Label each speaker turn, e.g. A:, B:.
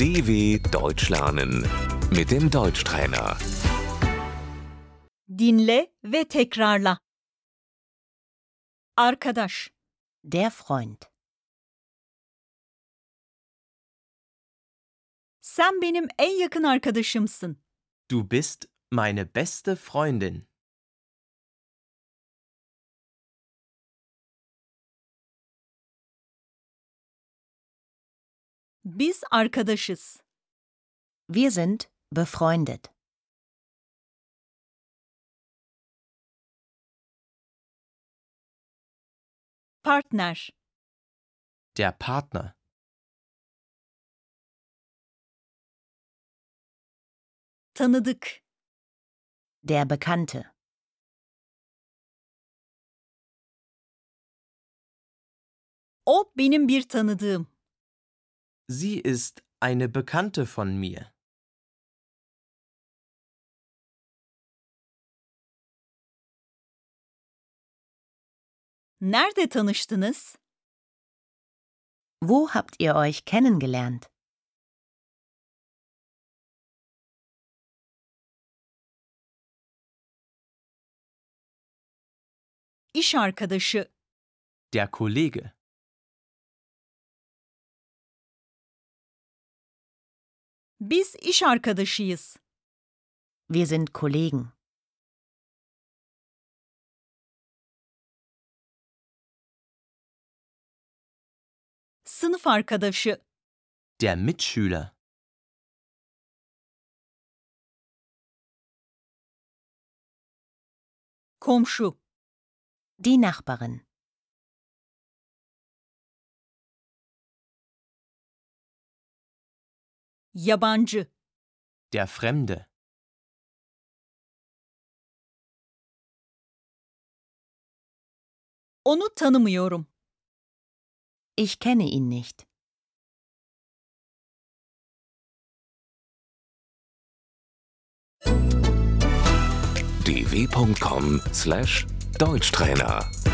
A: DW Deutsch lernen mit dem Deutschtrainer.
B: Dinle ve tekrarla. Arkadaş,
C: Der Freund.
B: sen benim en yakın arkadaşımsın.
D: Du bist meine beste Freundin.
B: Biz arkadaşız.
C: Wir sind befreundet.
B: Partner,
D: Der Partner.
B: tanıdık,
C: Der Bekannte.
B: o benim bir tanıdığım.
D: Sie ist eine Bekannte von mir.
B: Nerede tanıştınız?
C: Wo habt ihr euch kennengelernt?
B: İş arkadaşı,
D: Der Kollege.
B: biz iş arkadaşıyız.
C: Wir sind Kollegen.
B: Sınıf arkadaşı,
D: Der Mitschüler.
B: komşu,
C: Die Nachbarin.
B: yabancı,
D: Der Fremde.
B: onu tanımıyorum.
C: Ich kenne ihn nicht.
A: dw.com/deutschtrainer